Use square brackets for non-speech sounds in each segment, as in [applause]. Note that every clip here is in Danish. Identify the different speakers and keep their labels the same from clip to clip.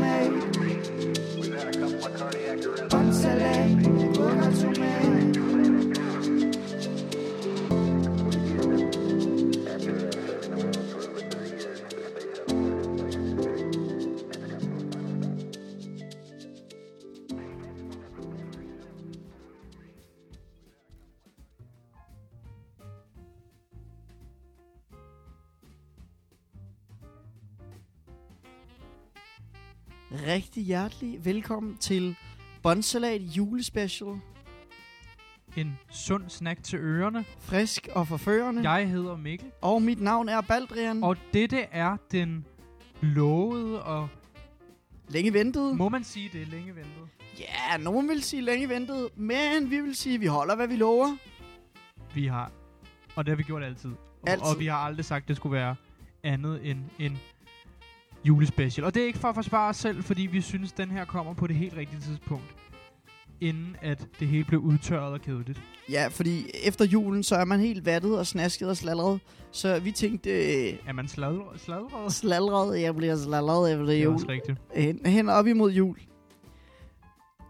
Speaker 1: tomat Båndsalat, gurk og tomat
Speaker 2: Rigtig hjertelig velkommen til Bonsalat julespecial.
Speaker 3: En sund snack til ørerne.
Speaker 2: Frisk og forførende.
Speaker 3: Jeg hedder Mikkel,
Speaker 2: Og mit navn er Baldrian.
Speaker 3: og dette er den lovede og,
Speaker 2: længe ventet.
Speaker 3: må man sige, det er længe ventet.
Speaker 2: Ja, nogen vil sige længe ventet, men vi vil sige, at vi holder, hvad vi lover.
Speaker 3: Vi har, og det har vi gjort altid. Og,
Speaker 2: Altid.
Speaker 3: og vi har aldrig sagt, det skulle være andet end en julespecial. Og det er ikke for at forsvare os selv, fordi vi synes, den her kommer på det helt rigtige tidspunkt. Inden at det hele blev udtørret og kedeligt.
Speaker 2: Ja, fordi efter julen, så er man helt vattet og snasket og sladret. Så vi tænkte, øh,
Speaker 3: Er man sladret? sladret?
Speaker 2: sladret, jeg bliver sladret efter
Speaker 3: Det er
Speaker 2: jul.
Speaker 3: også rigtigt.
Speaker 2: Hen, hen op imod jul. Jo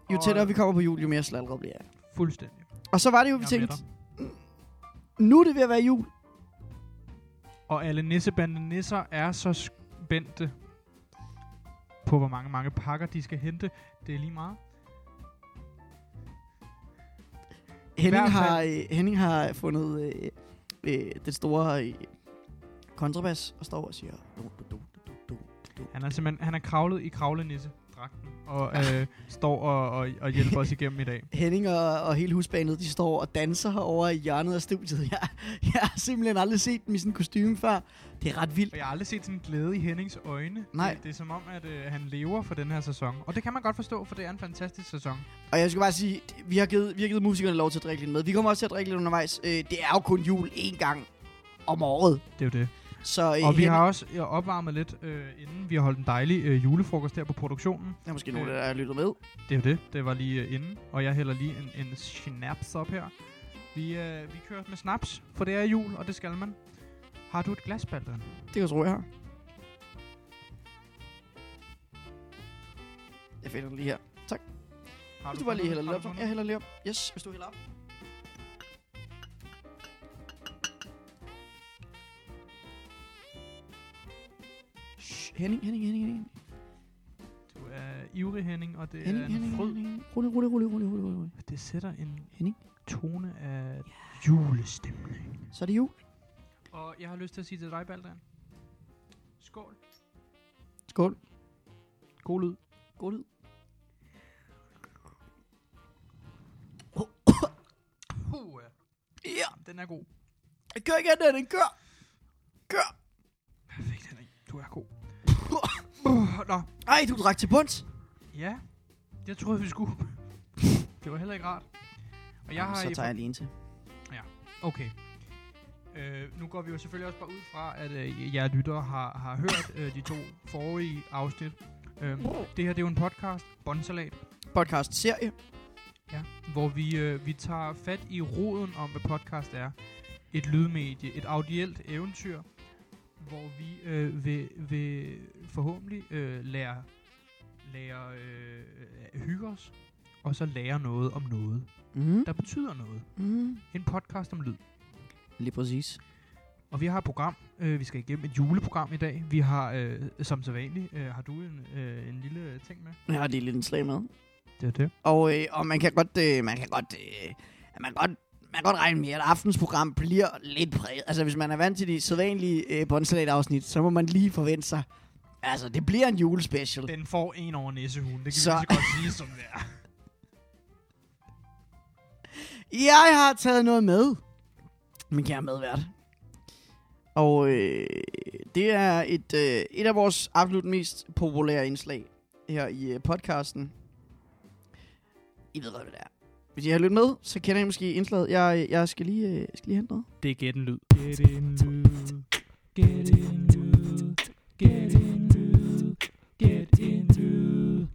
Speaker 3: Og- øh,
Speaker 2: tættere vi kommer på jul, jo mere sladret bliver jeg.
Speaker 3: Fuldstændig.
Speaker 2: Og så var det jo, vi
Speaker 3: Jeg er med
Speaker 2: tænkte, "Mm, nu er det ved at være jul.
Speaker 3: Og alle nissebande nisser er så spændte på, hvor mange, mange pakker de skal hente. Det er lige meget.
Speaker 2: Henning
Speaker 3: hvert fald-
Speaker 2: har, øh, Henning har fundet øh, øh, den store øh, kontrabas og står og siger... Du, du, du, du, du, du.
Speaker 3: Han er simpelthen han er kravlet i kravlenisse-dragten og øh, står og, og, og hjælper os igennem i [laughs] dag.
Speaker 2: Henning og, og hele husbanet, de står og danser herovre i hjørnet af studiet. [laughs] Jeg, jeg har simpelthen aldrig set dem i sådan en kostume før. Det er ret vildt.
Speaker 3: Og jeg har aldrig set sådan en glæde i Hennings øjne.
Speaker 2: Nej.
Speaker 3: Det, det er som om, at øh, han lever for den her sæson. Og det kan man godt forstå, for det er en fantastisk sæson.
Speaker 2: Og jeg skal bare sige, vi har givet, vi har givet musikerne lov til at drikke lidt med. Vi kommer også til at drikke lidt undervejs. Øh, det er jo kun jul én gang om året.
Speaker 3: Det er jo det.
Speaker 2: Så, øh,
Speaker 3: Og vi
Speaker 2: Henning-
Speaker 3: har også øh, opvarmet lidt, øh, inden vi har holdt en dejlig øh, julefrokost her på produktionen.
Speaker 2: Der er måske nogen, der har lyttet med.
Speaker 3: Det er jo det. Det var lige øh, inden. Og jeg hælder lige en, en snaps op her. Vi, øh, vi kører med snaps, for det er jul, og det skal man. Har du et glas, Baldren?
Speaker 2: Det kan jeg tro, jeg har. Jeg finder den lige her.
Speaker 3: Har
Speaker 2: Hvis du bare lige hælder lidt
Speaker 3: har
Speaker 2: op.
Speaker 3: du
Speaker 2: så- Jeg hælder lige op. Yes, hvis du hælder op. Shh, Henning, Henning, Henning, Henning.
Speaker 3: fundet? Du er ivrig, Henning, og det
Speaker 2: Henning,
Speaker 3: er en
Speaker 2: Henning,
Speaker 3: fryd.
Speaker 2: Henning. Rulle, rulle, rulle, rulle, rulle, rulle.
Speaker 3: Det sætter en
Speaker 2: Henning.
Speaker 3: tone af julestemning.
Speaker 2: Så er det jul.
Speaker 3: Og jeg har lyst til at sige til dig, Baldren. Skål.
Speaker 2: Skål.
Speaker 3: God lyd.
Speaker 2: God lyd.
Speaker 3: Puh, ja.
Speaker 2: Ja,
Speaker 3: den er god.
Speaker 2: kør igen, Henning, kør. Kør.
Speaker 3: Perfekt, Henning. Du er god. uh, nå,
Speaker 2: Ej, du drak til bunds.
Speaker 3: ja. Jeg troede, vi skulle. [laughs] det var heller ikke rart. Og jeg har
Speaker 2: Så
Speaker 3: i-
Speaker 2: tager jeg lige en til.
Speaker 3: Okay. Øh, nu går vi jo selvfølgelig også bare ud fra, at øh, jer lyttere har, har hørt øh, de to forrige afsnit. Øh, det her det er jo en podcast, Bonsalat,
Speaker 2: Podcast serie.
Speaker 3: ja. hvor vi, øh, vi tager fat i roden om, hvad podcast er. Et lydmedie, et audielt eventyr, hvor vi øh, vil, vil forhåbentlig øh, lære, lære øh, at hygge os, og så lære noget om noget,
Speaker 2: Mm.
Speaker 3: der betyder noget.
Speaker 2: Mm.
Speaker 3: En podcast om lyd.
Speaker 2: Lige præcis.
Speaker 3: Og vi har et program. Øh, vi skal igennem et juleprogram i dag. Vi har, øh, som så vanligt, øh, har du en, øh, en lille øh, ting med?
Speaker 2: Jeg har lige lidt en slag med.
Speaker 3: Det er det.
Speaker 2: Og, øh, og man kan godt, øh, man kan godt, øh, man kan godt, man kan godt regne med, at aftens program bliver lidt præget. Altså, hvis man er vant til de sædvanlige øh, bonsalat-afsnit, så må man lige forvente sig, altså, det bliver en julespecial.
Speaker 3: Den får en over næsehunden. Det kan
Speaker 2: Så-
Speaker 3: så. vi lige så godt sige, som det er.
Speaker 2: Jeg har taget noget med, min kære medvært. Og øh, det er et, øh, et af vores absolut mest populære indslag her i øh, podcasten. I ved, hvad det er. Hvis I har lyttet med, så kender I måske indslaget. Jeg, jeg skal, lige, øh, skal lige hente noget.
Speaker 3: Det er gæt en lyd. Gæt en lyd. Gæt en lyd. Gæt en lyd. Gæt en lyd.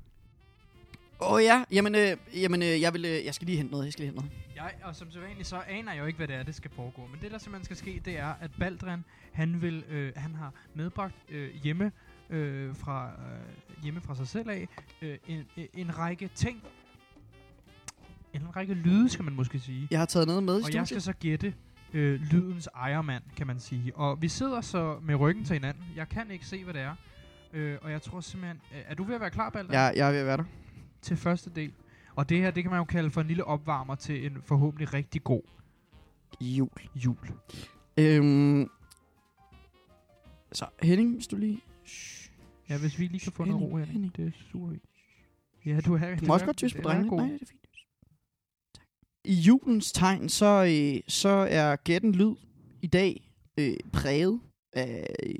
Speaker 2: Åh oh, ja, jamen, øh, jamen øh, jeg, vil, øh, jeg skal lige hente noget, jeg skal lige hente noget.
Speaker 3: Jeg, og som så vanligt, så aner jeg jo ikke, hvad det er, det skal foregå. Men det, der simpelthen skal ske, det er, at Baldrian, han, vil, øh, han har medbragt øh, hjemme øh, fra øh, hjemme fra sig selv af øh, en, en- en række ting. En række lyde, skal man måske sige.
Speaker 2: Jeg har taget noget med i
Speaker 3: Og
Speaker 2: studiet.
Speaker 3: jeg skal så gætte øh, lydens ejermand, kan man sige. Og vi sidder så med ryggen til hinanden. Jeg kan ikke se, hvad det er. Øh, og jeg tror simpelthen... Øh, er du ved at være klar, Balder?
Speaker 2: Jeg, jeg er ved at være der.
Speaker 3: Til første del. Og det her, det kan man jo kalde for en lille opvarmer til en forhåbentlig rigtig god
Speaker 2: Jul.
Speaker 3: jul.
Speaker 2: Øhm, så Henning, hvis du lige...
Speaker 3: Ja, hvis vi lige kan få noget
Speaker 2: Henning,
Speaker 3: ro her.
Speaker 2: Henning.
Speaker 3: Det er super vigtigt. Ja, du er...
Speaker 2: Du må også godt tyse på drengene. Nej, det er fint. Tak. I julens tegn, så, øh, så er gætten lyd i dag øh, præget af, øh,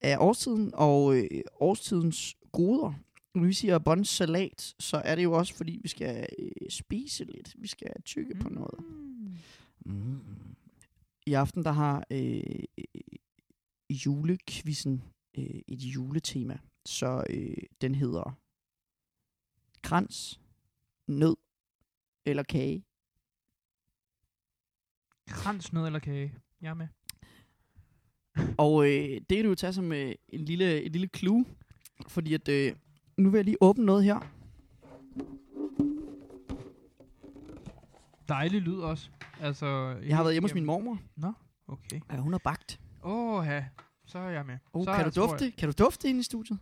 Speaker 2: af årstiden og øh, årstidens goder. Når vi siger bondsalat, så er det jo også, fordi vi skal øh, spise lidt. Vi skal tykke mm. på noget. Mm. I aften, der har øh, julekvissen øh, et juletema, så øh, den hedder krans, nød eller kage.
Speaker 3: Krans, nød eller kage. Jeg er med.
Speaker 2: Og øh, det kan du jo tage som øh, en lille, et lille clue, fordi at, øh, nu vil jeg lige åbne noget her.
Speaker 3: Dejlig lyd også. Altså,
Speaker 2: Jeg har været hjemme hos min mormor.
Speaker 3: Okay.
Speaker 2: Ja, hun har bagt.
Speaker 3: Åh, ja. Så er jeg med.
Speaker 2: Oh,
Speaker 3: så
Speaker 2: kan
Speaker 3: er-
Speaker 2: du
Speaker 3: tror
Speaker 2: dufte? Kan du dufte ind i studiet?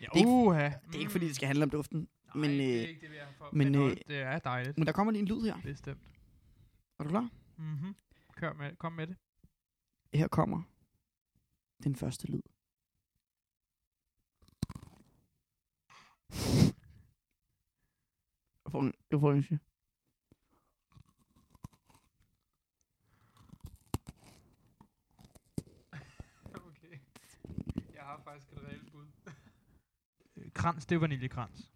Speaker 3: Jeg,
Speaker 2: er
Speaker 3: ja,
Speaker 2: ikke-
Speaker 3: uha.
Speaker 2: Det er ikke, fordi det skal handle om duften.
Speaker 3: Nej,
Speaker 2: men,
Speaker 3: det er
Speaker 2: øh,
Speaker 3: ikke det, vi er her for.
Speaker 2: men,
Speaker 3: Men,
Speaker 2: øh,
Speaker 3: men det er dejligt.
Speaker 2: Men der kommer lige en lyd her.
Speaker 3: Bestemt.
Speaker 2: Er du klar?
Speaker 3: Mm-hmm. Kør med, kom med det.
Speaker 2: Her kommer den første lyd. Jeg får en, jeg får en sy-
Speaker 3: [laughs] Okay. Jeg har faktisk et reelt bud. Øh, krans, det er vaniljekrans.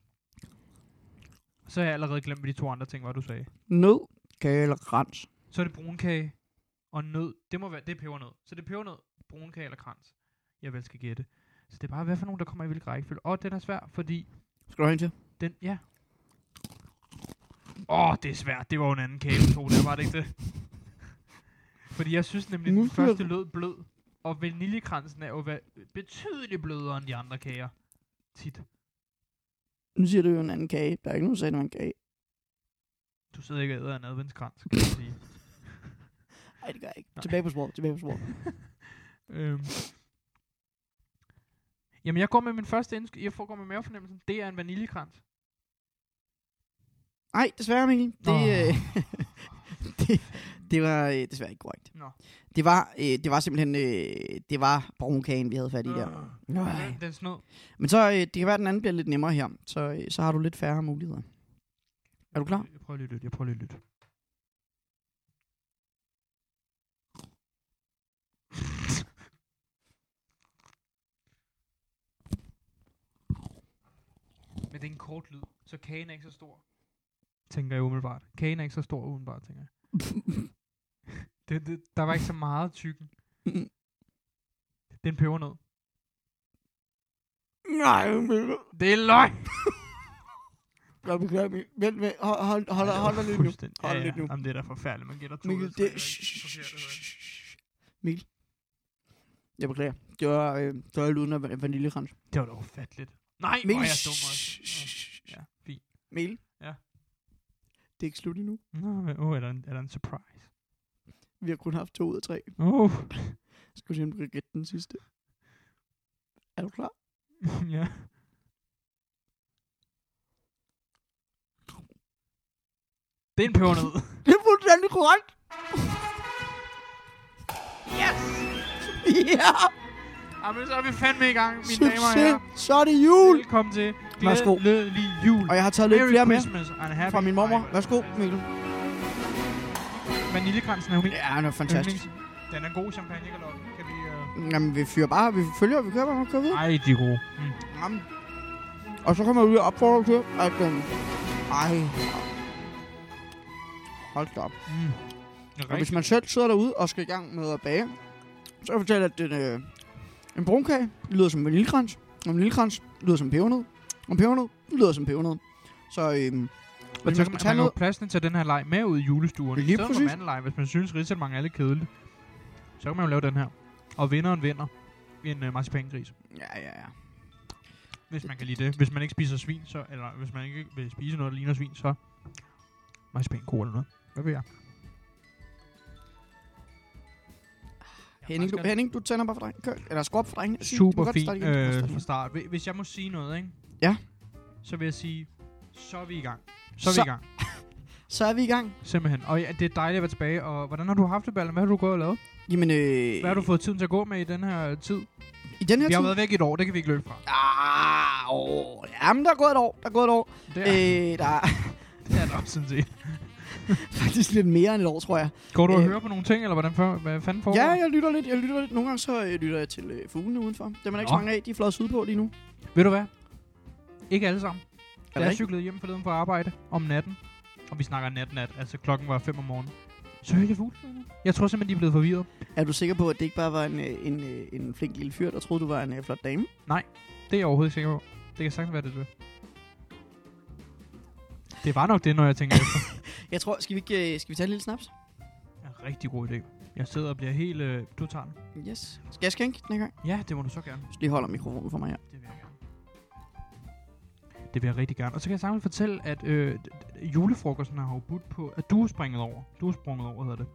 Speaker 3: Så har jeg allerede glemt, hvad de to andre ting var, du sagde.
Speaker 2: Nød, kage eller rens.
Speaker 3: Så er det brunkage og nød. Det må være, det er pebernød. Så det er pebernød, brunkage eller krans. Jeg vel skal gætte. Så det er bare, hvad for nogen, der kommer i hvilken rækkefølge. Og den er svær, fordi
Speaker 2: Skal du have en til?
Speaker 3: den, ja. Åh, oh, det er svært. Det var jo en anden kage, vi tog der, var det ikke det? fordi jeg synes nemlig,
Speaker 2: Nu
Speaker 3: den
Speaker 2: bliver
Speaker 3: første
Speaker 2: det-
Speaker 3: lød blød. Og vaniljekransen er jo va- betydeligt blødere end de andre kager. Tit.
Speaker 2: Nu siger du jo en anden kage. Der er ikke nogen, der sagde, det var en kage.
Speaker 3: Du sidder ikke og æder en adventskrans, kan man sige.
Speaker 2: Nej, det gør jeg ikke.
Speaker 3: Nej.
Speaker 2: Tilbage på sporet, tilbage på [laughs] sporet.
Speaker 3: Øhm. Jamen, jeg går med min første indsk- Jeg får går med mavefornemmelsen. Det er en vaniljekrans.
Speaker 2: Nej, desværre, Mikkel. Det,
Speaker 3: Åh.
Speaker 2: øh, [laughs] det, det var øh, desværre ikke korrekt.
Speaker 3: Nå.
Speaker 2: Det var, øh, det var simpelthen, øh, det var brunkagen, vi havde fat i der. Nej.
Speaker 3: Den, den snød.
Speaker 2: Men så, øh, det kan være, at den anden bliver lidt nemmere her. Så, øh, så har du lidt færre muligheder. Er du klar?
Speaker 3: Jeg prøver lige at lytte. Jeg prøver lige at lytte. [laughs] Men det er en kort lyd, så kagen er ikke så stor. Tænker jeg umiddelbart. Kagen er ikke så stor umiddelbart, tænker jeg.
Speaker 2: Øh.
Speaker 3: Det, det, der var ikke så meget tykken.
Speaker 2: Mm.
Speaker 3: Det er en pebernød.
Speaker 2: Nej, Mikkel.
Speaker 3: Det er løgn!
Speaker 2: Jeg beklager, Mikkel. Vent, vent. Hold, hold, hold,
Speaker 3: Ej, det var
Speaker 2: hold dig lidt nu.
Speaker 3: fuldstændig-
Speaker 2: Hold
Speaker 3: ja,
Speaker 2: lidt
Speaker 3: ja.
Speaker 2: nu.
Speaker 3: Jamen, det er da forfærdeligt. Man gætter to.
Speaker 2: Mikkel,
Speaker 3: eller tre,
Speaker 2: det...
Speaker 3: eller ikke?
Speaker 2: Mikkel. Jeg beklager. Det var, øh, det var lyden af vaniljekrans.
Speaker 3: Det var da ufatteligt. Nej, hvor er
Speaker 2: Mikkel,
Speaker 3: jeg dum også. Ja, fint.
Speaker 2: Mikkel.
Speaker 3: Ja.
Speaker 2: Det er ikke slut endnu.
Speaker 3: Nå, men, oh, er der, en, er der en surprise?
Speaker 2: Vi har kun haft to ud af tre.
Speaker 3: Oh,
Speaker 2: Skal vi se, om du kan gætte den sidste? Er du klar?
Speaker 3: [laughs] ja. Det er en pebernød.
Speaker 2: Det er fuldstændig korrekt.
Speaker 3: Yes!
Speaker 2: ja,
Speaker 3: [laughs] Jamen, så er vi fandme i gang, mine damer og
Speaker 2: succes.
Speaker 3: herrer.
Speaker 2: Så er det jul.
Speaker 3: Velkommen til
Speaker 2: Værsgo.
Speaker 3: Glædelig Jul.
Speaker 2: Og jeg har taget lidt
Speaker 3: Merry
Speaker 2: flere med
Speaker 3: Christmas and happy
Speaker 2: fra min mormor.
Speaker 3: Ej,
Speaker 2: Værsgo, Mikkel.
Speaker 3: Vaniljekransen er jo min
Speaker 2: Ja, han er fantastisk.
Speaker 3: yndlings. Den er god champagne, Kan vi... Øh...
Speaker 2: Mm-hmm. Jamen, vi fyrer bare, vi følger, vi kører bare, vi kører videre.
Speaker 3: Ej, de er gode. Mm.
Speaker 2: Jamen. Og så kommer jeg ud og opfordrer til, at den... Ej. Hold da op.
Speaker 3: Mm.
Speaker 2: Og hvis man selv sidder derude og skal i gang med at bage, så kan jeg fortælle, at den, øh, en brunkage lyder som en vaniljekrans, og en vaniljekrans lyder som pebernød, og en pebernød lyder som pebernød. Så øhm,
Speaker 3: Men
Speaker 2: hvis
Speaker 3: så
Speaker 2: man
Speaker 3: kan
Speaker 2: skal
Speaker 3: man,
Speaker 2: tage
Speaker 3: man jo
Speaker 2: noget...
Speaker 3: pladsen til den her leg med ud i julestuerne.
Speaker 2: Lige
Speaker 3: I stedet for
Speaker 2: præcis.
Speaker 3: mandelej, hvis man synes, at mange er lidt kedeligt. Så kan man jo lave den her. Og vinderen vinder. en øh, marcipangris.
Speaker 2: Ja, ja, ja.
Speaker 3: Hvis man kan lide det. Hvis man ikke spiser svin, så... Eller hvis man ikke vil spise noget, der ligner svin, så... Marcipanko eller noget. Hvad ved jeg? Jeg
Speaker 2: Ah, Henning, du,
Speaker 3: faktisk
Speaker 2: Henning, du tænder bare for dreng. Kør, eller skru op for dreng. Sig- du må
Speaker 3: super
Speaker 2: godt
Speaker 3: fint
Speaker 2: starte igen. Du må godt
Speaker 3: øh,
Speaker 2: starte
Speaker 3: fra
Speaker 2: igen.
Speaker 3: start. Hvi- Hvis jeg må sige noget, ikke?
Speaker 2: Ja.
Speaker 3: Så vil jeg sige, så er vi i gang. Så er
Speaker 2: Så-
Speaker 3: vi i gang.
Speaker 2: Så er vi i gang.
Speaker 3: Simpelthen. Og ja, det er dejligt at være tilbage. Og hvordan har du haft det, Balle? Hvad har du gået og lavet?
Speaker 2: Jamen, øh,
Speaker 3: Hvad har du fået tiden til at gå med i den her tid?
Speaker 2: i den her
Speaker 3: Vi har
Speaker 2: tid?
Speaker 3: været væk i et år, det kan vi ikke løbe fra.
Speaker 2: Ah, åh, jamen, der er gået et år. Der er gået et år.
Speaker 3: Det er,
Speaker 2: Øh, der er
Speaker 3: [laughs]
Speaker 2: [laughs]
Speaker 3: det er nok sådan set.
Speaker 2: faktisk lidt mere end et år, tror jeg.
Speaker 3: Går du og
Speaker 2: Øh.
Speaker 3: høre på nogle ting, eller hvordan for, hvad fanden foregår?
Speaker 2: Ja, jeg lytter lidt. Jeg lytter lidt. Nogle gange så øh, lytter jeg til øh, fuglene udenfor. Dem er der ikke så
Speaker 3: Nå.
Speaker 2: mange af. De er flået sydpå lige nu.
Speaker 3: Ved du hvad? Ikke alle sammen.
Speaker 2: Er
Speaker 3: Da
Speaker 2: der
Speaker 3: jeg
Speaker 2: ikke?
Speaker 3: cyklede hjem forleden fra arbejde om natten, og vi snakker nat-nat, altså klokken var 5 om morgenen, så hørte jeg fuglesangene. Jeg tror simpelthen, de er blevet forvirret.
Speaker 2: Er du sikker på, at det ikke bare var en, øh, en, øh, en flink lille fyr, der troede, du var en øh, flot dame?
Speaker 3: Det er jeg overhovedet ikke sikker på. Det kan sagtens være, det er det. Det var nok det, når jeg tænker efter.
Speaker 2: Jeg tror, skal vi, ikke, øh, skal vi tage en lille snaps?
Speaker 3: En rigtig god idé. Jeg sidder og bliver helt... Øh, du tager den.
Speaker 2: Yes. Skal jeg skænke den her gang?
Speaker 3: Ja, det må du så gerne.
Speaker 2: Så lige holder mikrofonen for mig her.
Speaker 3: Det vil jeg gerne. Det vil jeg rigtig gerne. Og så kan jeg samtidig fortælle, at øh, d- d- julefrokosten har jo budt på, at du er springet over. Du er sprunget over, hedder det.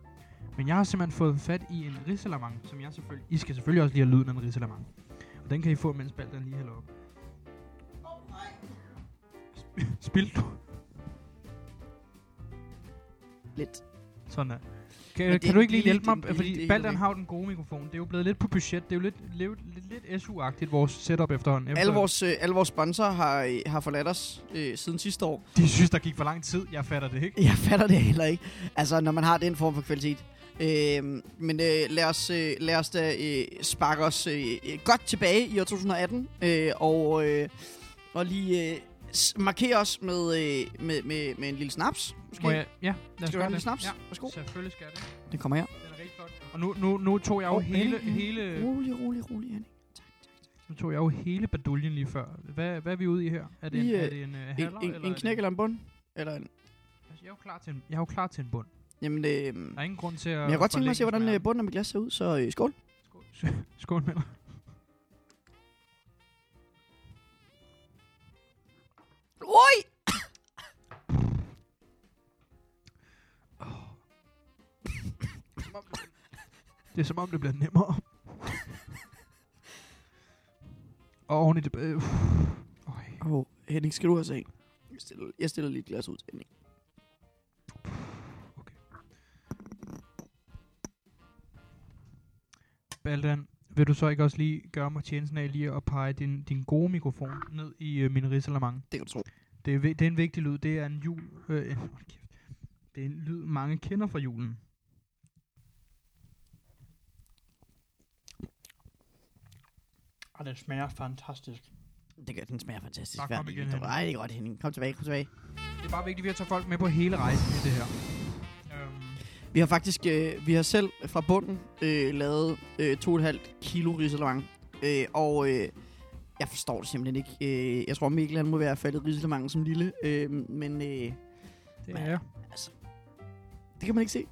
Speaker 3: Men jeg har simpelthen fået fat i en risalamang, som jeg selvfølgelig... I skal selvfølgelig også lige have lyden af en risalamang. Og den kan I få, mens balden lige hælder op. Sp- Spil du?
Speaker 2: Lidt.
Speaker 3: Sådan der.
Speaker 2: Men
Speaker 3: Kan,
Speaker 2: det
Speaker 3: kan du
Speaker 2: er
Speaker 3: ikke lige
Speaker 2: billigt,
Speaker 3: hjælpe mig?
Speaker 2: det er billigt, det
Speaker 3: Fordi
Speaker 2: er
Speaker 3: Baldan
Speaker 2: helt
Speaker 3: har jo den gode mikrofon. Det er jo blevet lidt på budget. Det er jo lidt, lidt, lidt, lidt SU-agtigt, vores setup efterhånden. Efter,
Speaker 2: Alle vores, øh, alle vores sponsorer har, øh, har forladt os øh, siden sidste år.
Speaker 3: De synes, der gik for lang tid. Jeg fatter det ikke.
Speaker 2: [laughs] Jeg fatter det heller ikke. Altså, når man har den form for kvalitet. Øh, men øh, lad, os, øh, lad os da øh, sparke os øh, øh, godt tilbage i år 2018. Øh, og, øh, og lige øh, s- markere os med, øh, med, med, med en lille snaps. Måske.
Speaker 3: Må jeg? Ja, lad os
Speaker 2: Skal du
Speaker 3: gøre
Speaker 2: have en lille
Speaker 3: det.
Speaker 2: snaps?
Speaker 3: Ja,
Speaker 2: Værsgo.
Speaker 3: selvfølgelig skal jeg det.
Speaker 2: Den kommer her.
Speaker 3: Den er rigtig flot. Og nu, nu, nu tog jeg jo
Speaker 2: Åh,
Speaker 3: oh, hele,
Speaker 2: Henning,
Speaker 3: hele,
Speaker 2: Rolig, rolig, rolig, Henning.
Speaker 3: nu tog jeg jo hele baduljen lige før. Hvad, hvad er vi ude i her? Er det en,
Speaker 2: Vi, øh,
Speaker 3: er det en uh, haller?
Speaker 2: En, en,
Speaker 3: eller
Speaker 2: en knæk
Speaker 3: Er
Speaker 2: eller en bund? Eller en,
Speaker 3: det, altså, jeg er jo klar til en, jeg er jo klar til en bund.
Speaker 2: jamen, øh,
Speaker 3: Der er ingen grund til at...
Speaker 2: men jeg kunne godt tænke mig at se,
Speaker 3: forlænge
Speaker 2: hvordan øh,
Speaker 3: smerten.
Speaker 2: bunden af mit glas ser ud, så øh, skål.
Speaker 3: Skål, Skål med dig.
Speaker 2: Oj!
Speaker 3: Det er som om, det bliver
Speaker 2: [laughs]
Speaker 3: nemmere. Og oven i det... Øh, uh, øj.
Speaker 2: Oh, Henning, skal du også have en? Jeg stiller, jeg stiller lige et glas ud til Henning.
Speaker 3: Baldan, vil du så ikke også lige gøre mig tjenesten af lige at pege din, din gode mikrofon ned i øh, min risalamang?
Speaker 2: Det kan du tro.
Speaker 3: Det er, vi- det er en vigtig lyd. Det er en jul... Øh, [laughs] en- hold kæft. det er en lyd, mange kender fra julen. Og det Ah, smager fantastisk.
Speaker 2: Det gør, den smager fantastisk.
Speaker 3: Tak,
Speaker 2: Hver
Speaker 3: kom
Speaker 2: dag.
Speaker 3: igen,
Speaker 2: Det var
Speaker 3: Henning.
Speaker 2: rigtig godt, Henning. Kom tilbage, kom tilbage.
Speaker 3: Det er bare vigtigt, at vi har taget folk med på hele rejsen i det her. Øhm,
Speaker 2: Vi har faktisk, øh, vi har selv fra bunden øh, lavet øh, 2,5 kilo risalemang. Øh, og øh, jeg forstår det simpelthen ikke. Øh, jeg tror, Mikkel han må være faldet risalemang som lille. Øh, men øh,
Speaker 3: det er jeg.
Speaker 2: det kan man ikke se.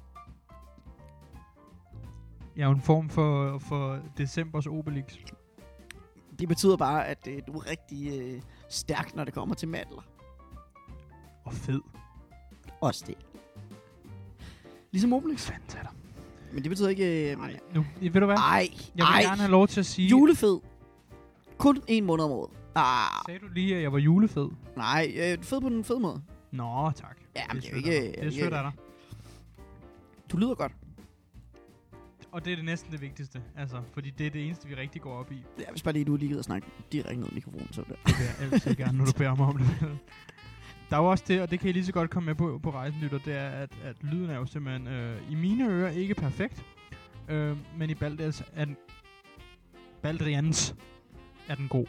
Speaker 3: Jeg er jo en form for, for decembers Obelix.
Speaker 2: Det betyder bare, at øh, du er rigtig øh, stærk, når det kommer til mandler.
Speaker 3: Og fed.
Speaker 2: Også det. Ligesom Obelix.
Speaker 3: Fanden tag dig.
Speaker 2: Men det betyder ikke... Øh,
Speaker 3: Nej,
Speaker 2: nej,
Speaker 3: nu, ved du hvad?
Speaker 2: ej.
Speaker 3: Jeg vil gerne have lov til at sige...
Speaker 2: Julefed. Kun en måned om året. Ah,
Speaker 3: Sagde du lige, at jeg var julefed?
Speaker 2: nej, øh, fed på den fede måde.
Speaker 3: Nå, tak.
Speaker 2: Ja, men det er jo
Speaker 3: sødt
Speaker 2: ikke-
Speaker 3: af dig. Det er
Speaker 2: ikke-
Speaker 3: sødt af dig.
Speaker 2: Du lyder godt.
Speaker 3: Og det er det næsten det vigtigste, altså, fordi det er det eneste, vi rigtig går op i.
Speaker 2: Ja, hvis bare lige du lige gider at snakke direkte ned i mikrofonen, så er det.
Speaker 3: Det vil jeg altid gerne, når du beder mig om det. Der er jo også det, og det kan I lige så godt komme med på, på rejsen, lytter, det er, at, at lyden er jo simpelthen øh, i mine ører ikke perfekt, øh, men i Balders er den, Baldrians er den god.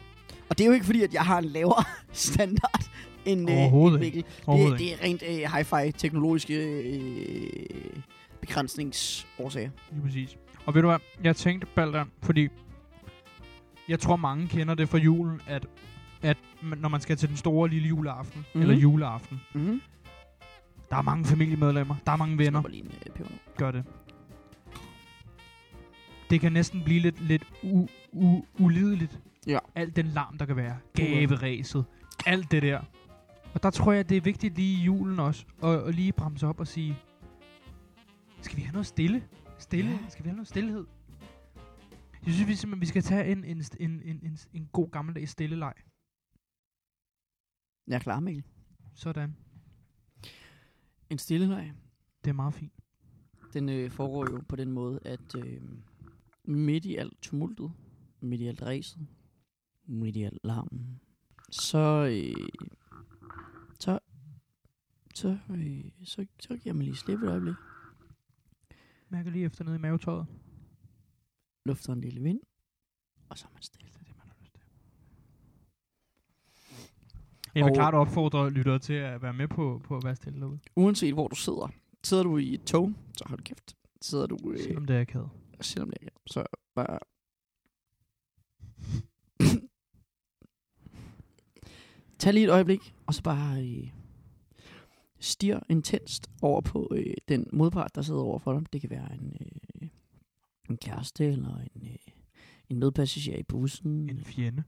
Speaker 2: Og det er jo ikke fordi, at jeg har en lavere [laughs] standard end øh,
Speaker 3: Overhovedet
Speaker 2: end
Speaker 3: ikke.
Speaker 2: Mikkel. Det,
Speaker 3: Overhovedet
Speaker 2: det er rent øh, hi-fi teknologiske øh, begrænsningsårsager.
Speaker 3: Lige præcis. Og ved du hvad, jeg tænkte, Balder, fordi jeg tror, mange kender det fra julen, at, at man- når man skal til den store lille juleaften, mm-hmm.
Speaker 2: Mhm.
Speaker 3: eller juleaften,
Speaker 2: Mm-hmm.
Speaker 3: der er
Speaker 2: øh,
Speaker 3: mange familiemedlemmer, der er mange venner,
Speaker 2: Lige en, øh, peber.
Speaker 3: gør det. det kan næsten blive lidt, lidt u, u, ulideligt.
Speaker 2: Ja.
Speaker 3: Alt den larm, der kan være. Gaveræset. Alt det der. Og der tror jeg, det er vigtigt lige i julen også, at, at lige bremse op og sige, skal vi have noget stille? Stille?
Speaker 2: Ja.
Speaker 3: Ja. Skal vi have noget stillhed? Jeg synes, vi simpelthen, vi skal tage en, en, st- en, en, en, en god gammeldags stille leg.
Speaker 2: Jeg er klar, Mikkel.
Speaker 3: Sådan.
Speaker 2: En stille leg.
Speaker 3: Det er meget fint.
Speaker 2: Den øh, foregår jo på den måde, at øh, midt i alt tumultet, midt i alt ræset, midt i alt larmen, så, øh, så, så, øh, så, så giver man lige slip et øjeblik,
Speaker 3: Mærker lige efter nede i mavetøjet.
Speaker 2: lufter en lille vind, og så er man stille.
Speaker 3: Jeg vil
Speaker 2: Og-
Speaker 3: klart opfordre lyttere til at være med på, på at være stille derude.
Speaker 2: Uanset hvor du sidder, sidder du i et tog, så hold kæft. Sidder du, øh,
Speaker 3: Selvom det er akavet.
Speaker 2: selvom det er, så bare... Tag lige et øjeblik, og så bare øh, stir intenst over på øh, den modpart, der sidder over for dig. Det kan være en, øh, en kæreste, eller en, øh, en medpassager i bussen,
Speaker 3: En fjende.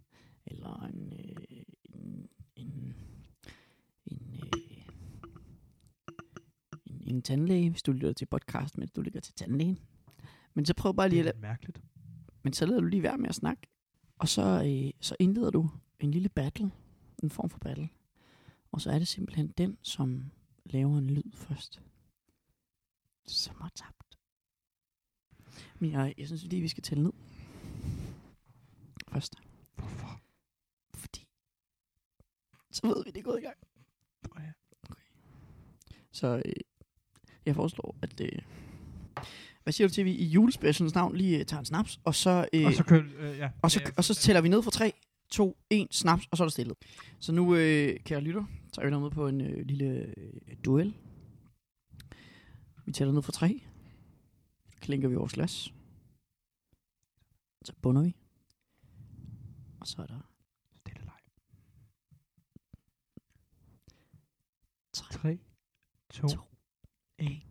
Speaker 2: eller en, øh, en, en, en, øh, en, en tandlæge, hvis du lytter til podcast, mens du ligger til tandlægen. Men så prøv bare lige
Speaker 3: Det
Speaker 2: at lade
Speaker 3: er lidt mærkeligt.
Speaker 2: men så lader du lige være med at snakke. Og så, øh, så indleder du en lille battle, en form for battle. Og så er det simpelthen den, som laver en lyd først. Som har tabt. Men jeg, jeg synes lige, vi skal tælle ned. Først.
Speaker 3: Hvorfor?
Speaker 2: Fordi så ved vi, det er gået i gang.
Speaker 3: Nå ja.
Speaker 2: Så øh, jeg foreslår, at... Øh, hvad siger du til, at vi i julespecialens navn lige øh, tager en snaps, og så... Øh,
Speaker 3: Og så køl, øh, ja.
Speaker 2: Og så,
Speaker 3: Ja,
Speaker 2: og så tæller vi ned fra 3, 2, 1, snaps, og så er der stillet. Så nu, øh, kære lytter, tager vi dig med på en øh, lille øh, duel. Vi tæller ned fra 3. Klinker vi vores glas. Så bunder vi. Og så er der
Speaker 3: Stille leg.
Speaker 2: 3.
Speaker 3: 3, 2,
Speaker 2: To.
Speaker 3: 1.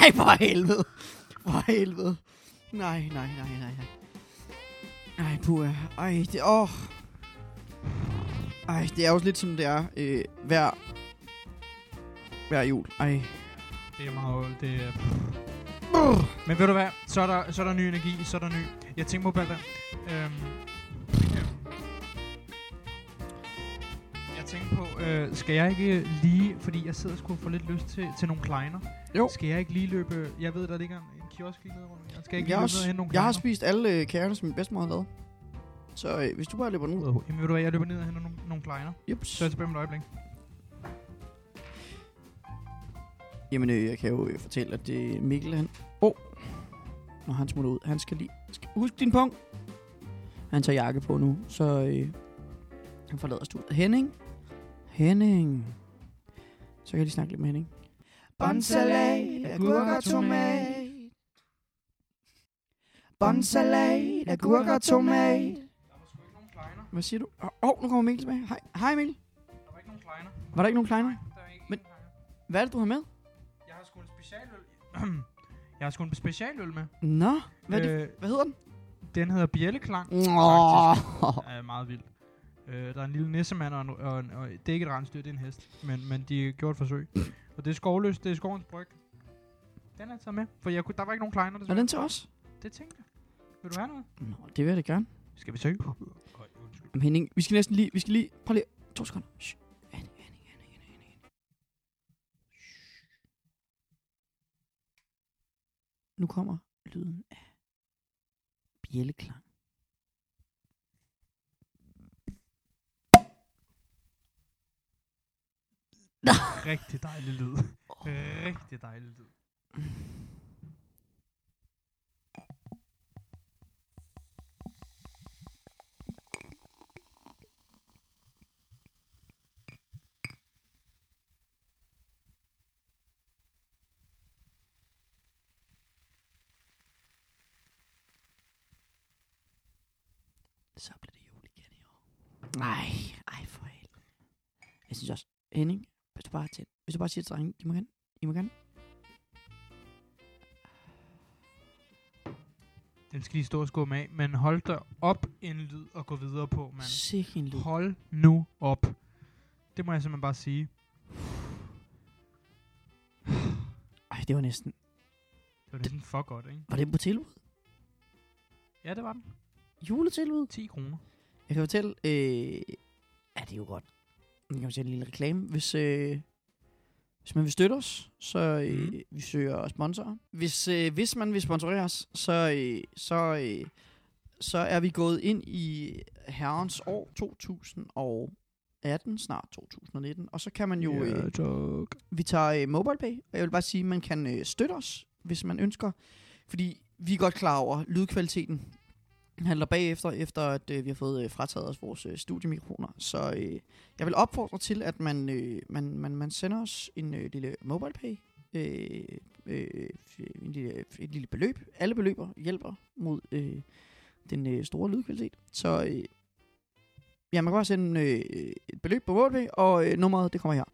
Speaker 2: Ej, for helvede. For helvede. Nej, nej, nej, nej, nej. Ej, puha. Ej, det... Åh. Ej, det er jo lidt som det er øh, hver... Hver jul. Ej.
Speaker 3: Det er meget... Det er...
Speaker 2: Brr.
Speaker 3: Men ved du hvad? Så er der, så er der ny energi, så er der ny... Jeg tænker på Balder. Øhm, ja. jeg tænker på, øh, skal jeg ikke lige... Fordi jeg sidder og skulle få lidt lyst til, til nogle kleiner.
Speaker 2: Jo.
Speaker 3: Skal jeg ikke lige løbe... Jeg ved, der ligger en, en kiosk lige nede rundt. om hjørnet. Skal jeg ikke
Speaker 2: Jeg, har
Speaker 3: lige løbe ned og
Speaker 2: også,
Speaker 3: hente nogle
Speaker 2: jeg har
Speaker 3: kleiner?
Speaker 2: spist alle øh, kagerne, som min bedstemor har lavet. Så øh, hvis du bare løber den ud.
Speaker 3: Jamen ved du hvad, jeg løber ned og henter nogle, nogle kleiner.
Speaker 2: Jups.
Speaker 3: Så er jeg tilbage om et øjeblik.
Speaker 2: Jamen, øh, jeg kan jo øh, fortælle, at det Mikkel, han... Åh, oh. når han smutter ud, han skal lige... Skal, husk din pung! Han tager jakke på nu, så øh, han forlader studiet. Henning? Henning. Så kan jeg lige snakke lidt med Henning.
Speaker 1: Båndsalat, agurker, tomat. Båndsalat, agurker, tomat.
Speaker 3: Der var sgu ikke nogen kleiner.
Speaker 2: Hvad siger du? Åh, oh, nu kommer Mikkel tilbage. Hej, hej Mikkel.
Speaker 3: Der var ikke nogen kleiner.
Speaker 2: Var der ikke nogen kleiner?
Speaker 3: Der er ikke
Speaker 2: Men-
Speaker 3: Men...
Speaker 2: Hvad er det, du har med?
Speaker 3: Jeg har sgu en specialøl. [clears throat] jeg har sgu en specialøl med.
Speaker 2: Nå, hvad, er det?
Speaker 3: Øh,
Speaker 2: hvad hedder den?
Speaker 3: den hedder Bjelleklang.
Speaker 2: Åh,
Speaker 3: er meget vild. Øh, der er en lille nissemand, og, en, og, en, og det er ikke et rensdyr, det er en hest. Men, men de gjorde et forsøg. og det er skovløst, det er skovens bryg. Den er taget med, for jeg kunne, der var ikke nogen kleiner,
Speaker 2: er
Speaker 3: desværre.
Speaker 2: den til os?
Speaker 3: Det tænkte jeg. Vil du have noget?
Speaker 2: Nå, det vil jeg da gerne.
Speaker 3: Skal vi søge?
Speaker 2: Jamen, Henning, vi skal næsten lige, vi skal lige, prøv lige, to sekunder. Shh. Henning, Henning, Henning, Henning, Henning. Shh. Nu kommer lyden af bjælleklang.
Speaker 3: Rigtig dejlig lyd. Rigtig dejlig lyd.
Speaker 2: så bliver det jul igen i år. Nej, ej for helvede. Jeg synes også, Henning, hvis du bare, til, hvis du bare siger til drengene, de må gerne, I må gerne.
Speaker 3: Den skal lige stå og skumme af, men hold da op en lyd og gå videre på, mand.
Speaker 2: Sikke en lyd.
Speaker 3: Hold nu op. Det må jeg simpelthen bare sige.
Speaker 2: Ej, det var næsten...
Speaker 3: Det var næsten for godt, ikke?
Speaker 2: Var det på tilbud?
Speaker 3: Ja, det var den.
Speaker 2: Juletilbud?
Speaker 3: 10 kroner.
Speaker 2: Jeg kan fortælle... Øh, ja, det er jo godt. Jeg kan fortælle en lille reklame. Hvis, øh, hvis man vil støtte os, så øh,
Speaker 3: Mhm.
Speaker 2: vi søger sponsorer. Hvis, øh, hvis man vil sponsorere os, så, øh, så, øh, så er vi gået ind i herrens år 2018, snart 2019. Og så kan man jo... Øh,
Speaker 3: tak.
Speaker 2: vi tager øh, MobilePay, og jeg vil bare sige, at man kan øh, støtte os, hvis man ønsker. Fordi vi er godt klar over, at lydkvaliteten handler bagefter, efter at øh, vi har fået øh, frataget os vores øh, studiemikrofoner. Så øh, jeg vil opfordre til, at man, øh, man, man, man sender os en øh, lille MobilePay, øh, øh, en lille, et lille beløb. Alle beløber hjælper mod øh, den øh, store lydkvalitet. Så øh, ja, man kan bare sende øh, et beløb på MobilePay, og øh, nummeret det kommer her.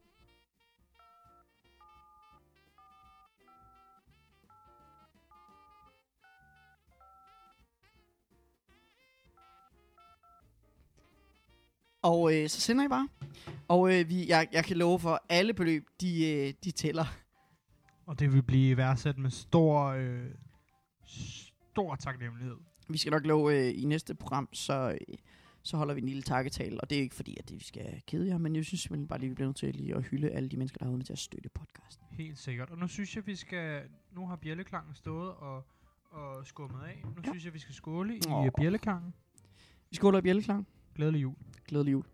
Speaker 2: Og øh, så sender I bare. Og øh, vi, jeg, jeg kan love for, at alle beløb, de, øh, de tæller.
Speaker 3: Og det vil blive værdsat med stor, øh, stor taknemmelighed.
Speaker 2: Vi skal nok love øh, i næste program, så, øh, så holder vi en lille takketale. Og det er ikke fordi, at det, vi skal kede jer, men jeg synes simpelthen bare lige, vi bliver nødt til lige at hylde alle de mennesker, der har været med til at støtte podcasten.
Speaker 3: Helt sikkert. Og nu synes jeg, vi skal... Nu har bjælleklangen stået og, og skummet af. Nu
Speaker 2: Ja.
Speaker 3: ja. synes jeg, vi skal skåle i
Speaker 2: Åh.
Speaker 3: oh. bjælleklangen.
Speaker 2: Vi skåler i bjælleklang.
Speaker 3: Glædelig jul.
Speaker 2: Glædelig jul.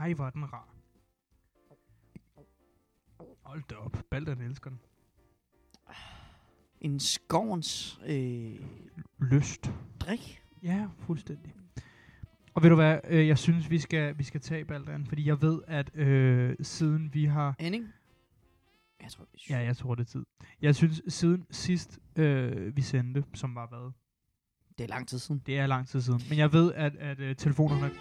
Speaker 3: Ej, hvor er den rar. Hold da op. Balderen elsker den.
Speaker 2: En skovens øh,
Speaker 3: Lyst.
Speaker 2: drik.
Speaker 3: Ja, fuldstændig. Og ved du hvad, øh, jeg synes, vi skal, vi skal tage Balderen, fordi jeg ved, at øh, siden vi har...
Speaker 2: Henning? Jeg tror, vi
Speaker 3: Ja, jeg tror, det er tid. Jeg synes, siden sidst øh, vi sendte, som var hvad?
Speaker 2: Det er lang tid siden.
Speaker 3: Det er lang tid siden. Men jeg ved, at, at øh, telefonerne...
Speaker 2: [laughs]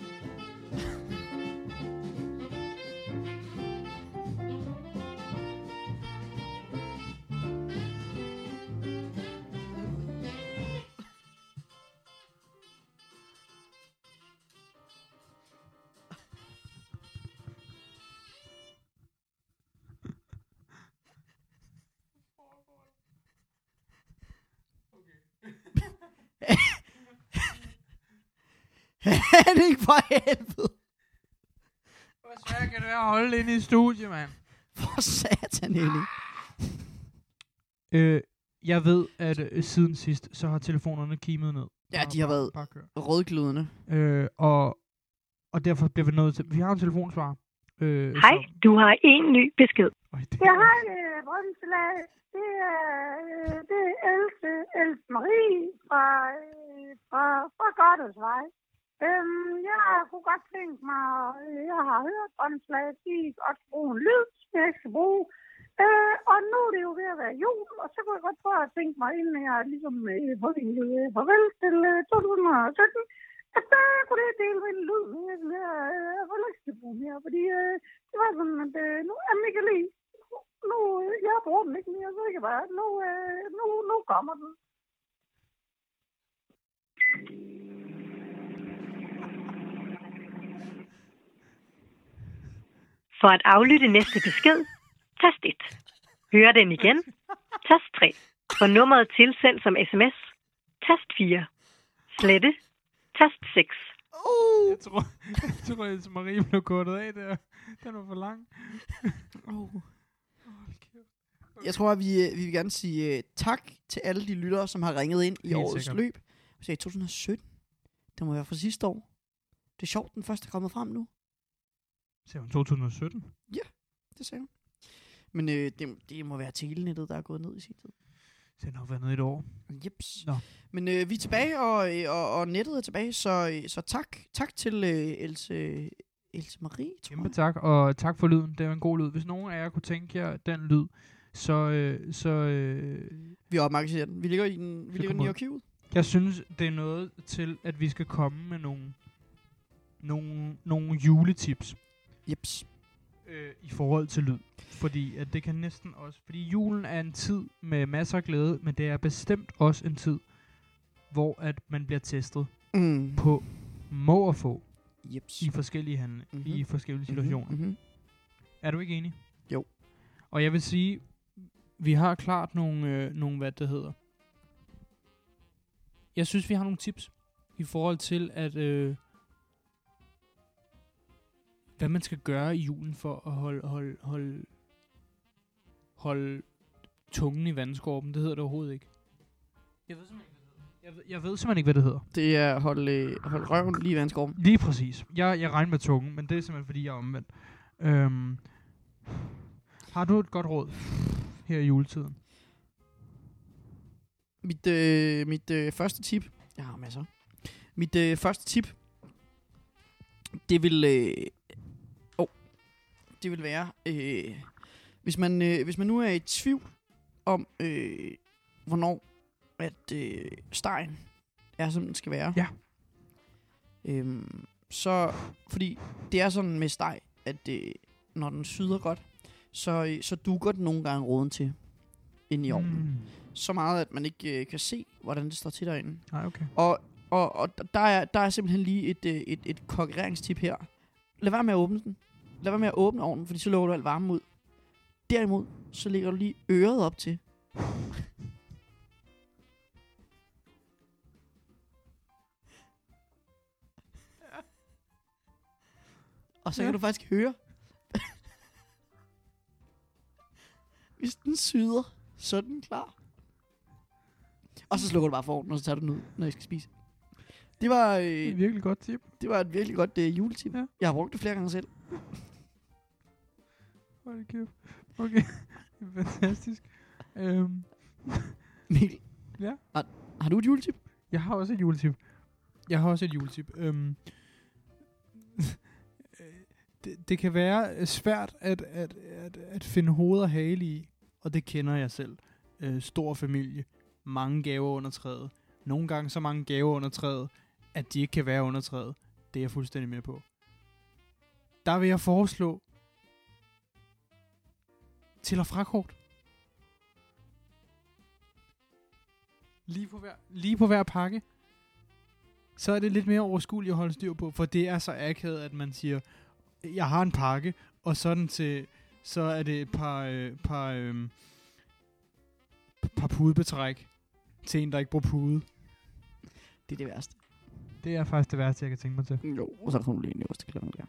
Speaker 2: Henning, for helvede.
Speaker 3: Hvor svært kan det være at holde inde i studiet, mand?
Speaker 2: For satan, Henning.
Speaker 3: Øh, jeg ved, at øh, siden sidst, så har telefonerne kimet ned.
Speaker 2: Ja,
Speaker 3: Bare-
Speaker 2: de har
Speaker 3: bare-
Speaker 2: været
Speaker 3: Bare kør.
Speaker 2: rødglødende.
Speaker 3: Øh, og, og derfor bliver vi nødt til... Vi har en telefonsvar. Øh,
Speaker 4: Hej,
Speaker 3: som-
Speaker 4: du har en ny besked.
Speaker 3: Øj, det,
Speaker 5: Jeg har en øh, brøndsalat. Det er, øh, det er Else, Else Marie fra, øh, fra, fra Gottesvej. Øhm, jeg kunne godt tænke mig, øh, jeg har hørt brøndsalat, de kan godt bruge en lyd, som jeg ikke skal bruge. Øh, og nu er det jo ved at være jul, og så kunne jeg godt prøve at tænke mig, inden jeg ligesom øh, får en øh, farvel til øh, 2017, at der kunne det dele med en lyd, som jeg, som jeg øh, jeg får lyst til at bruge mere, fordi øh, det var sådan, at øh, nu er Michael Lee nu, øh, jeg bruger den ikke mere, så det kan være, nu, øh, nu, nu kommer den.
Speaker 4: For at aflytte næste besked, tast 1. Hør den igen, tast 3. For nummeret tilsendt som sms, tast 4. Slette, tast 6.
Speaker 2: Uh.
Speaker 3: jeg tror, jeg tror, at Marie blev kortet af der. Den var for lang.
Speaker 2: Oh.
Speaker 3: Hold kæft.
Speaker 2: Jeg tror, at vi, øh, vi vil gerne sige uh, tak til alle de lyttere, som har ringet ind i
Speaker 3: Helt
Speaker 2: årets
Speaker 3: sikkert.
Speaker 2: løb. Vi sagde 2017. Det må være fra sidste år. Det er sjovt, den første er kommet frem nu.
Speaker 3: Ser hun 2017?
Speaker 2: Det sagde hun. Men øh, det, det må være telenettet, der er gået ned i sin tid.
Speaker 3: Så den har været nede i et år.
Speaker 2: Jeps.
Speaker 3: Nå.
Speaker 2: Men øh, vi er tilbage, og, øh, og, og nettet er tilbage, så, øh, så tak, tak til øh, Else, Else Marie, tror
Speaker 3: Kæmpe
Speaker 2: jeg.
Speaker 3: tak, og tak for lyden. Det var en god lyd. Hvis nogen af jer kunne tænke jer den lyd, så, øh, så øh,
Speaker 2: Vi opmagasineret den. Vi ligger i den, vi
Speaker 3: Så
Speaker 2: ligger
Speaker 3: kom
Speaker 2: den i
Speaker 3: ud.
Speaker 2: arkivet.
Speaker 3: jeg synes, det er noget til, at vi skal komme med nogle, nogle, nogle juletips
Speaker 2: Jeps.
Speaker 3: øh, i forhold til lyd. Fordi at det kan næsten også... Fordi julen er en tid med masser af glæde, men det er bestemt også en tid, hvor at man bliver testet
Speaker 2: Mm.
Speaker 3: på må og få
Speaker 2: Jeps.
Speaker 3: i forskellige, handle,
Speaker 2: Mhm.
Speaker 3: mm-hmm. i forskellige situationer.
Speaker 2: Mhm, mhm.
Speaker 3: Er du ikke enig?
Speaker 2: Jo.
Speaker 3: Og jeg vil sige, vi har klart nogle, øh, nogle hvad det hedder. Jeg synes, vi har nogle tips i forhold til, at øh, hvad man skal gøre i julen for at holde, holde, holde, holde tungen i vandskorben. Det hedder det overhovedet ikke. Jeg ved simpelthen ikke, hvad det hedder. Jeg ved, jeg ved simpelthen ikke, hvad det hedder.
Speaker 2: Det er hold, øh, hold røven lige i vandskorben.
Speaker 3: Lige præcis. Jeg, jeg regner med tungen, men det er simpelthen, fordi jeg er omvendt. Øhm, har du et godt råd her i juletiden?
Speaker 2: Mit, øh, mit øh, første tip... Jeg har masser. Mit øh, første tip... Det vil... Øh, oh, det vil være... Øh, hvis, man, øh, hvis man nu er i tvivl om, øh, hvornår at øh, stegen er, som den skal være.
Speaker 3: Ja.
Speaker 2: Øhm, så... Fordi det er sådan med steg, at øh, når den syder godt, så, øh, så duger den nogle gange roden til ind i ovnen
Speaker 3: Mm.
Speaker 2: så meget, at man ikke øh, kan se, hvordan det står til derinde.
Speaker 3: Nej, okay.
Speaker 2: Og, og, og d- der, er, der er simpelthen lige et, øh, et, et konkurreringstip her. Lad være med at åbne den. Lad være med at åbne ovnen, fordi så lukker du alt varmen ud. Derimod, så lægger du lige øret op til. Og så kan
Speaker 3: Ja.
Speaker 2: du faktisk høre, hvis den syder, så er den klar. Og så slukker du bare for ovnen, og så tager du den ud, når jeg skal spise. Det var,
Speaker 3: Det er
Speaker 2: øh,
Speaker 3: et virkelig godt tip.
Speaker 2: det var et virkelig godt øh, juletip.
Speaker 3: Ja.
Speaker 2: Ja. Jeg har brugt det flere gange selv.
Speaker 3: Hold da kæft. Okay. [laughs] Fantastisk. Øhm,
Speaker 2: Mikkel,
Speaker 3: Ja?
Speaker 2: har, har du et juletip?
Speaker 3: jeg har også et juletip. Jeg har også et juletip. Øhm, [laughs] det, det kan være øh, svært at, at, at, at finde hoved og hale i, og det kender jeg selv. Øh, stor familie, mange gaver under træet. Nogle gange så mange gaver under træet, at de ikke kan være under træet. Det er jeg fuldstændig med på. Der vil jeg foreslå til og frakort. Lige på, hver, lige på hver pakke, så er det lidt mere overskueligt at holde styr på, for det er så akavet, at man siger, jeg har en pakke, og sådan til, så er det et par, øh, par, øh, par pudebetræk til en, der ikke bruger pude.
Speaker 2: Det er det værste.
Speaker 3: Det er faktisk det værste, jeg kan tænke mig til.
Speaker 2: Jo, og så kom du lige ind i øverste klokken der.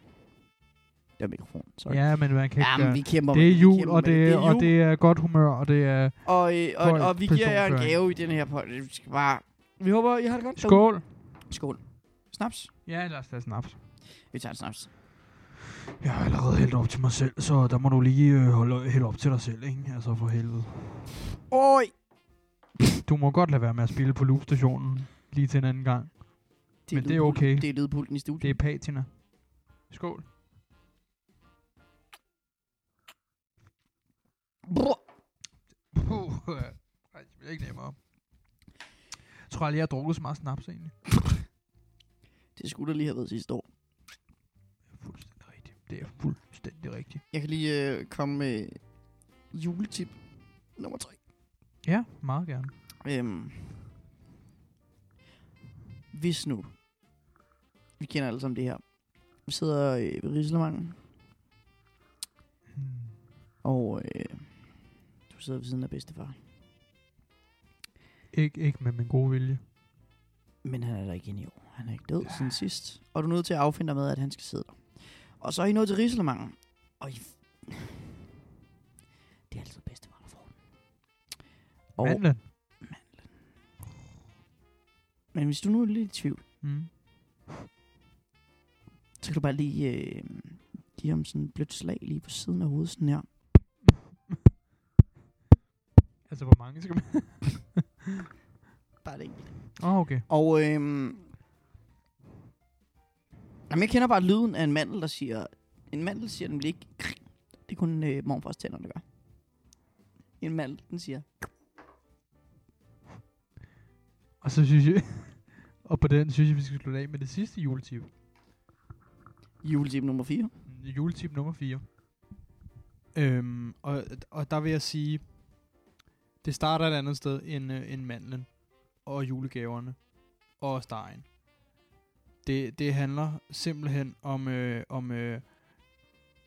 Speaker 2: Det er mikrofonen, sorry.
Speaker 3: Ja, men man kan ikke
Speaker 2: Jamen,
Speaker 3: gøre.
Speaker 2: vi kæmper
Speaker 3: Det
Speaker 2: med
Speaker 3: er jul,
Speaker 2: kæmper
Speaker 3: og
Speaker 2: med
Speaker 3: det, er, og
Speaker 2: jul.
Speaker 3: det er godt humør, og det er...
Speaker 2: Og, øh, og,
Speaker 3: Høj
Speaker 2: og, vi giver jer en
Speaker 3: personføring.
Speaker 2: gave i den her podcast. Vi skal bare... Vi håber, I har det godt. derude.
Speaker 3: Skål!
Speaker 2: Skål. Snaps.
Speaker 3: Ja, lad os tage snaps.
Speaker 2: Vi tager en snaps.
Speaker 3: Jeg har allerede hældt op til mig selv, så der må du lige øh, holde, hælde op til dig selv, ikke? Altså for helvede.
Speaker 2: Oj!
Speaker 3: Du må godt lade være med at spille på loopstationen lige til en anden gang. Men det er
Speaker 2: lydpulten.
Speaker 3: okay.
Speaker 2: Det er lydpulten i studiet.
Speaker 3: Det er patina. Skål.
Speaker 2: Brr.
Speaker 3: Puh, øh, ej, det bliver ikke nemmere. Jeg tror aldrig, jeg har drukket så meget snaps egentlig.
Speaker 2: Det skulle der lige have været sidste år.
Speaker 3: Fuldstændig rigtigt. Det er fuldstændig rigtigt.
Speaker 2: Jeg kan lige øh, komme med juletip nummer 3.
Speaker 3: Ja, meget gerne.
Speaker 2: Øhm, hvis nu, vi kender alle sammen det her, vi sidder øh, ved Rigslemangen,
Speaker 3: Hmm.
Speaker 2: og øh, du sidder ved siden af bedstefar,
Speaker 3: Ikke, ikke med min gode vilje.
Speaker 2: men han er der ikke inde i år. Han er ikke død siden sidst, og du er nødt til at affinde dig med, at han skal sidde der. Og så er I nået til Rigslemangen, og I... [laughs] Det er altid bedstefar, der får den.
Speaker 3: Og...
Speaker 2: Og,
Speaker 3: Mandlen.
Speaker 2: men hvis du nu er lidt i tvivl,
Speaker 3: Mm.
Speaker 2: så kan du bare lige øh, give ham sådan et blødt slag lige på siden af hovedet, sådan her.
Speaker 3: Altså, hvor mange skal man...
Speaker 2: Bare det
Speaker 3: Åh, oh, okay.
Speaker 2: Og øhm, Jamen, jeg kender bare lyden af en mandel, der siger... En mandel siger nemlig ikke... krik. Det er kun øh, morfars tænder, der gør. En mandel, den siger...
Speaker 3: Og så synes jeg... [laughs] og på den synes jeg, vi skal slutte af med det sidste juletip.
Speaker 2: Juletip nummer 4.
Speaker 3: Mm, Juletip nummer 4. Øhm,
Speaker 6: Og, og der vil jeg sige, det starter et andet sted end, øh, end mandlen og julegaverne og stegen. Det, det handler simpelthen om, øh, om øh,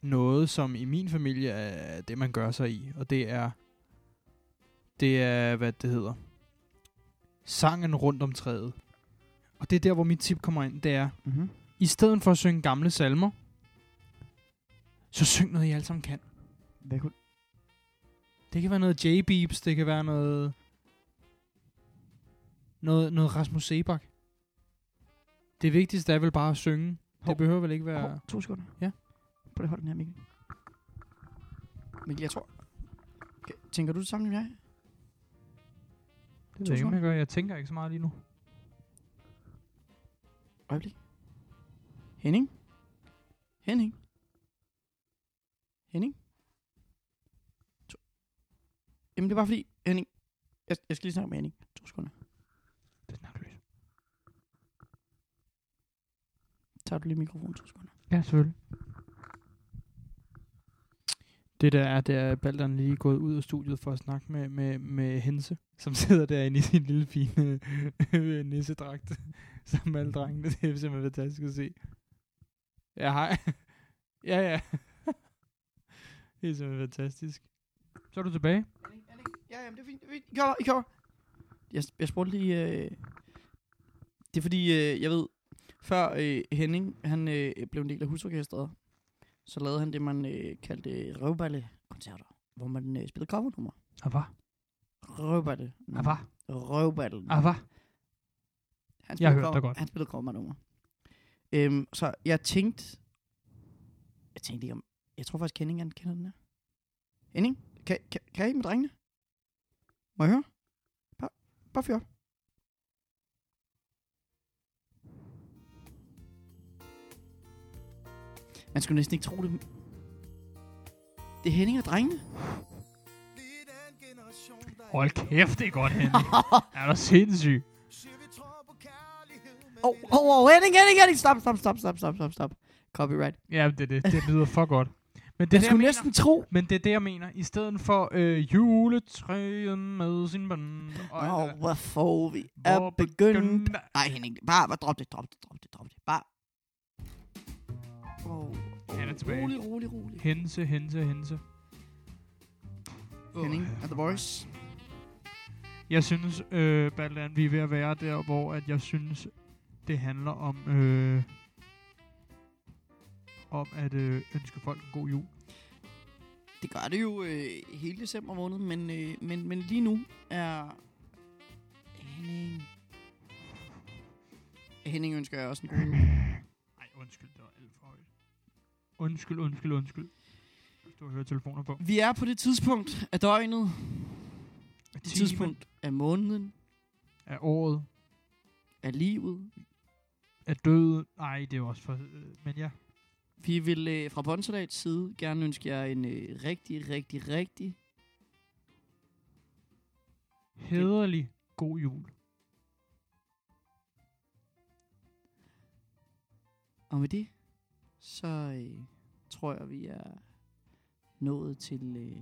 Speaker 6: noget, som i min familie er det, man gør sig i. Og det er, det er hvad det hedder, sangen rundt om træet. Og det er der, hvor mit tip kommer ind, det er,
Speaker 2: Mm-hmm.
Speaker 6: i stedet for at synge gamle salmer, så syng noget, I alle sammen kan.
Speaker 2: Hvad kunne...
Speaker 6: Det kan være noget J-Beeps, det kan være noget... Noget, noget Rasmus Sebak. Det vigtigste er vel bare at synge.
Speaker 2: Hov.
Speaker 6: Det behøver vel ikke
Speaker 2: Ja.
Speaker 6: være...
Speaker 2: Hov, to sekunder.
Speaker 6: Ja.
Speaker 2: Prøv lige at holde den her, Mikkel. Mikkel, jeg tror... Okay, tænker du det samme som jeg?
Speaker 3: det ved jeg, ikke, om
Speaker 2: sekunder.
Speaker 3: jeg, gør. jeg tænker ikke så meget lige nu.
Speaker 2: Øjeblik. Henning? Henning? Henning? To. Jamen, det er bare fordi, Henning... Jeg, jeg skal lige snakke med Henning. To sekunder.
Speaker 3: Det er snakløs.
Speaker 2: Tager du lige mikrofonen to sekunder?
Speaker 3: Ja, selvfølgelig.
Speaker 6: Det der er, det er at Balderen lige gået ud af studiet for at snakke med, med, med Hense, som [laughs] sidder derinde i sin lille fine øh, nissedragt, som alle drengene. Det er simpelthen fantastisk at se. Ja, hej. [laughs] Ja, ja. [laughs] Det er simpelthen fantastisk.
Speaker 3: Så er du tilbage.
Speaker 2: Ja, jamen, det er fint. Det er fint. I kommer, I kommer. Jeg, jeg spurgte lige... Øh, det er fordi, øh, jeg ved, før øh, Henning han, øh, blev en del af husorkestret, så lavede han det, man øh, kaldte øh, røvballekoncerter, hvor man øh, spillede covernummer.
Speaker 3: Ava,
Speaker 2: Røvballe.
Speaker 3: ava,
Speaker 2: Røvballen.
Speaker 3: ava.
Speaker 2: Han
Speaker 3: Jeg har
Speaker 2: spillede
Speaker 3: hørt
Speaker 2: cover-
Speaker 3: dig godt.
Speaker 2: Han spillede cover øhm, så jeg tænkte... Jeg tænkte ikke om... Jeg tror faktisk, Henning han kender den her. Henning, kan, kan, kan I med drengene? Må jeg høre? Bare, bare fyr op. Man skulle næsten ikke tro det. Det er Henning og drengene.
Speaker 3: Hold kæft, det er godt, [laughs] Henning. er du sindssyg?
Speaker 2: Åh, oh, oh, oh, Henning, Henning, Henning. Stop, stop, stop, stop, stop, stop, stop. Copyright.
Speaker 3: Ja, det, det, det lyder for godt. Men
Speaker 2: Jeg
Speaker 3: det, er det, jeg
Speaker 2: skulle
Speaker 3: næsten...
Speaker 2: næsten tro.
Speaker 3: Men det er det, jeg mener. I stedet for øh, juletræet med sin band. Og
Speaker 2: Åh,
Speaker 3: alt
Speaker 2: oh,
Speaker 3: det
Speaker 2: hvor får vi
Speaker 3: der.
Speaker 2: at
Speaker 3: Hvor
Speaker 2: begynde?
Speaker 3: begynder-
Speaker 2: Nej, Henning, bare, bare drop det, drop det, drop det, drop det. Bare. Oh, oh,
Speaker 3: Han er tilbage.
Speaker 2: Rolig, rolig, rolig.
Speaker 3: Hense, hense, hense.
Speaker 2: Henning
Speaker 3: Åh,
Speaker 2: and the boys.
Speaker 3: Jeg synes, øh, Balland, vi er ved at være der, hvor at jeg synes, det handler om, øh, om at øh, ønske folk en god jul.
Speaker 2: Det gør det jo øh, hele december måned, men, øh, men, men lige nu er Henning... Henning ønsker jeg også en god jul.
Speaker 3: Nej, undskyld, det var alt for højt. Undskyld, undskyld, undskyld. Hvis du har hørt telefoner på.
Speaker 2: Vi er på det tidspunkt af døgnet. Det
Speaker 3: Timen
Speaker 2: tidspunkt af måneden,
Speaker 3: Af året.
Speaker 2: af livet.
Speaker 3: Af døden. Nej, det er også for... Øh, men ja.
Speaker 2: Vi vil øh, fra Bonsalats side gerne ønske jer en øh, rigtig, rigtig, rigtig
Speaker 3: Hederlig god jul.
Speaker 2: Og med det, så øh, tror jeg, vi er nået til øh,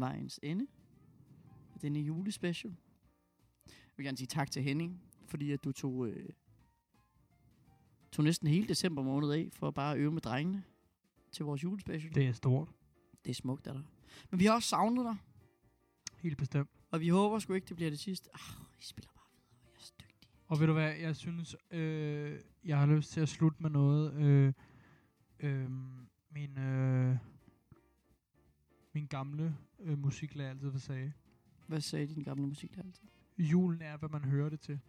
Speaker 2: vejens ende af denne julespecial. Jeg vil gerne sige tak til Henning, fordi at du tog, øh, tog næsten hele december måned af for at bare øve med drengene til vores julespecial. Det,
Speaker 3: Det er stort.
Speaker 2: det er smukt af dig. Men vi har også savnet dig,
Speaker 3: Helt bestemt.
Speaker 2: og vi håber sgu ikke, det bliver det sidste. Ah, I spiller bare videre, jeg er så dygtig.
Speaker 3: Og ved du hvad, jeg synes, øh, jeg har lyst til at slutte med noget. Øh, øh, min, øh, min gamle øh, musiklærer altid sagde,
Speaker 2: Hvad sagde din gamle musiklærer altid?
Speaker 3: julen er, hvad man hører det til.